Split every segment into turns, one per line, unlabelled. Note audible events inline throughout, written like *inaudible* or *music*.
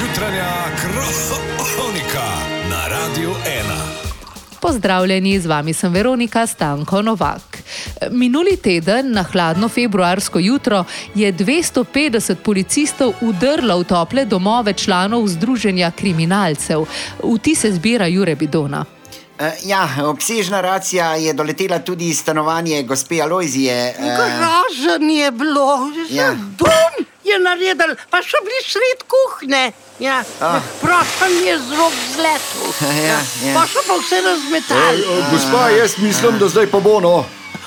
jutranja kronika na Radiu 1.
Pozdravljeni, z vami sem Veronika Stanko Novak. Minuli teden, na hladno februarsko jutro, je 250 policistov udrlo v tople domove članov Združenja kriminalcev. Vti se zbira Jure Bidona.
Eh, Ja, obsežna racija je doletela tudi stanovanje gospe Alojzije. eh,
Grožen je bilo,
Ja.
ja. bum je naredil, pa še bili sred kuhne. Ja.
Ah.
Prošen je z rok zletel.
Ja, ja.
Pa so pa vse razmetali.
Ej, Gospa, jaz mislim, da zdaj pa bo no.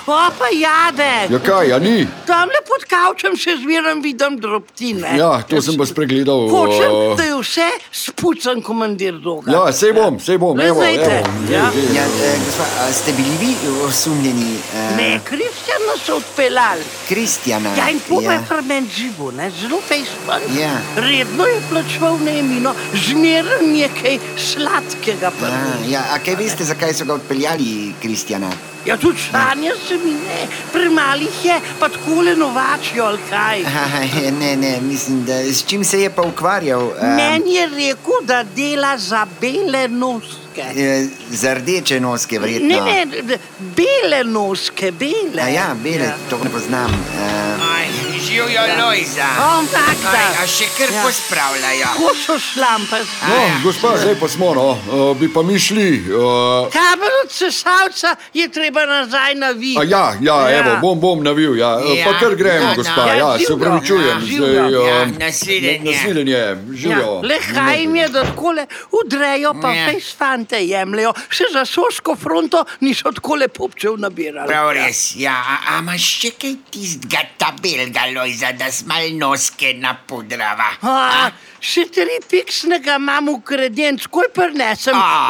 Opa jade,
Ja, kaj, ja ni.
tam le pod kavčem še zmeraj vidim drobtine.
Ja, to sem pa spregledal.
Eh, Hočem,
o.
da je vse spucen komandir roga.
Ja, sej bom, sej bom.
Ne
evo,
zdajte,
evo,
No, ja.
je, je.
Ja, eh, gospa, a ste bili vi osumljeni? eh,
Ne, Kristjana so odpeljali.
Kristjana.
Ja, in to je ferment živo, ne? zelo fejspan.
Ja.
Redno je plačal najemnino, zmeraj nekaj sladkega.
Ja,
Ja.
ja, a kaj veste, zakaj so ga odpeljali, Kristjana? *laughs*
ja, tudi stanje se mi ne, premalih je, pa tako le novačijo, ali kaj.
Aha, je, ne, ne, mislim, da s čim se je pa ukvarjal? eh,
Meni je rekel, da dela za bele noske.
eh, Za rdeče noske, verjetno.
Ne, ne, d- bele noske, bele.
A ja, bele,
Ja.
to ne poznam. eh.
Aj,
Živijo Lojza.
On tak,
Aj, a
da.
še kar
Ja.
pospravljajo.
Ko so šlampasti.
No,
ja.
gospa, zdaj pa smo, no. Uh, bi pa mi šli. Uh,
Kabel od sesalca je treba nazaj naviti.
a ja, ja,
Ja.
evo, bom, bom navil, ja. Eh,
Ja,
Pa kar gremo,
no, no.
gospa,
Ja,
ja, se
živjo,
upravičujem.
ja,
zdaj,
živjo,
eh,
ja, nasvidenje.
Nasvidenje, živijo.
Ja, le kaj jim je, da tako le udrejo, pa
Ja.
veš, fante jemljajo. Še za soško fronto niso tako le popčev nabirali.
Prav res, ja, a- a imaš še kaj tistega tabelga Lojza, da smal noske napudrava.
A, še tri piksnega imam v kredenc, koj prnesem.
A,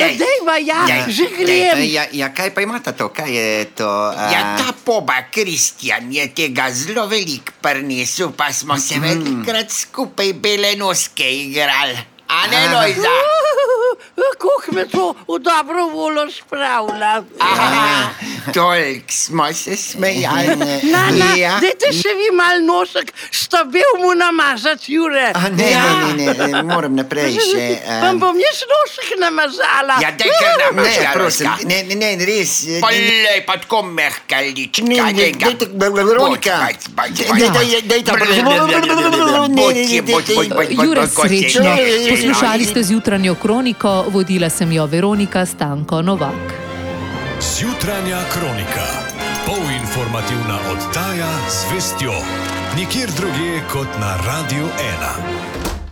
dej.
Dejva, ja,
Dej,
že
Eh,
grem.
Ja, ja, kaj pa imata to? Kaj je to? eh?
Ja, ta poba Kristjan je tega zelo velik prinesel, pa smo se velikrat skupaj bele noske igrali. A ne, Lojza?
Kuh me to v dobro voljo spravlja.
Aha, Toliko smo se smejali.
Na, na,
Ja.
dajte še vi mal nosek, stabel mu namazati, Jure.
A ne,
Ja.
ne, ne, ne, moram naprej še. eh.
Vam bom jaz nosek namazala.
Ja, daj kar namaž,
Ne,
Jaroška.
prosim, ne, ne, ne, res. eh,
Pa
ne,
lej, pa tako mehka
Ne,
lička,
ne,
njega.
dajte, b- b- Veronika.
Pač, pač, pač,
Daj-
pač.
daj- dajte,
Brr,
prosim.
brr, brr, brr, brr, brr.
Ne,
Bodi,
ne, ne,
bodi,
dajte.
bodi, bodi,
Jure,
bodi, bodi.
srečno.
ej,
Poslušali ste z jutranjo kroniko, vodila sem jo Veronika Stanko Novak.
Zjutranja kronika. Polinformativna oddaja z vestjo. Nikjer drugje kot na Radiu 1.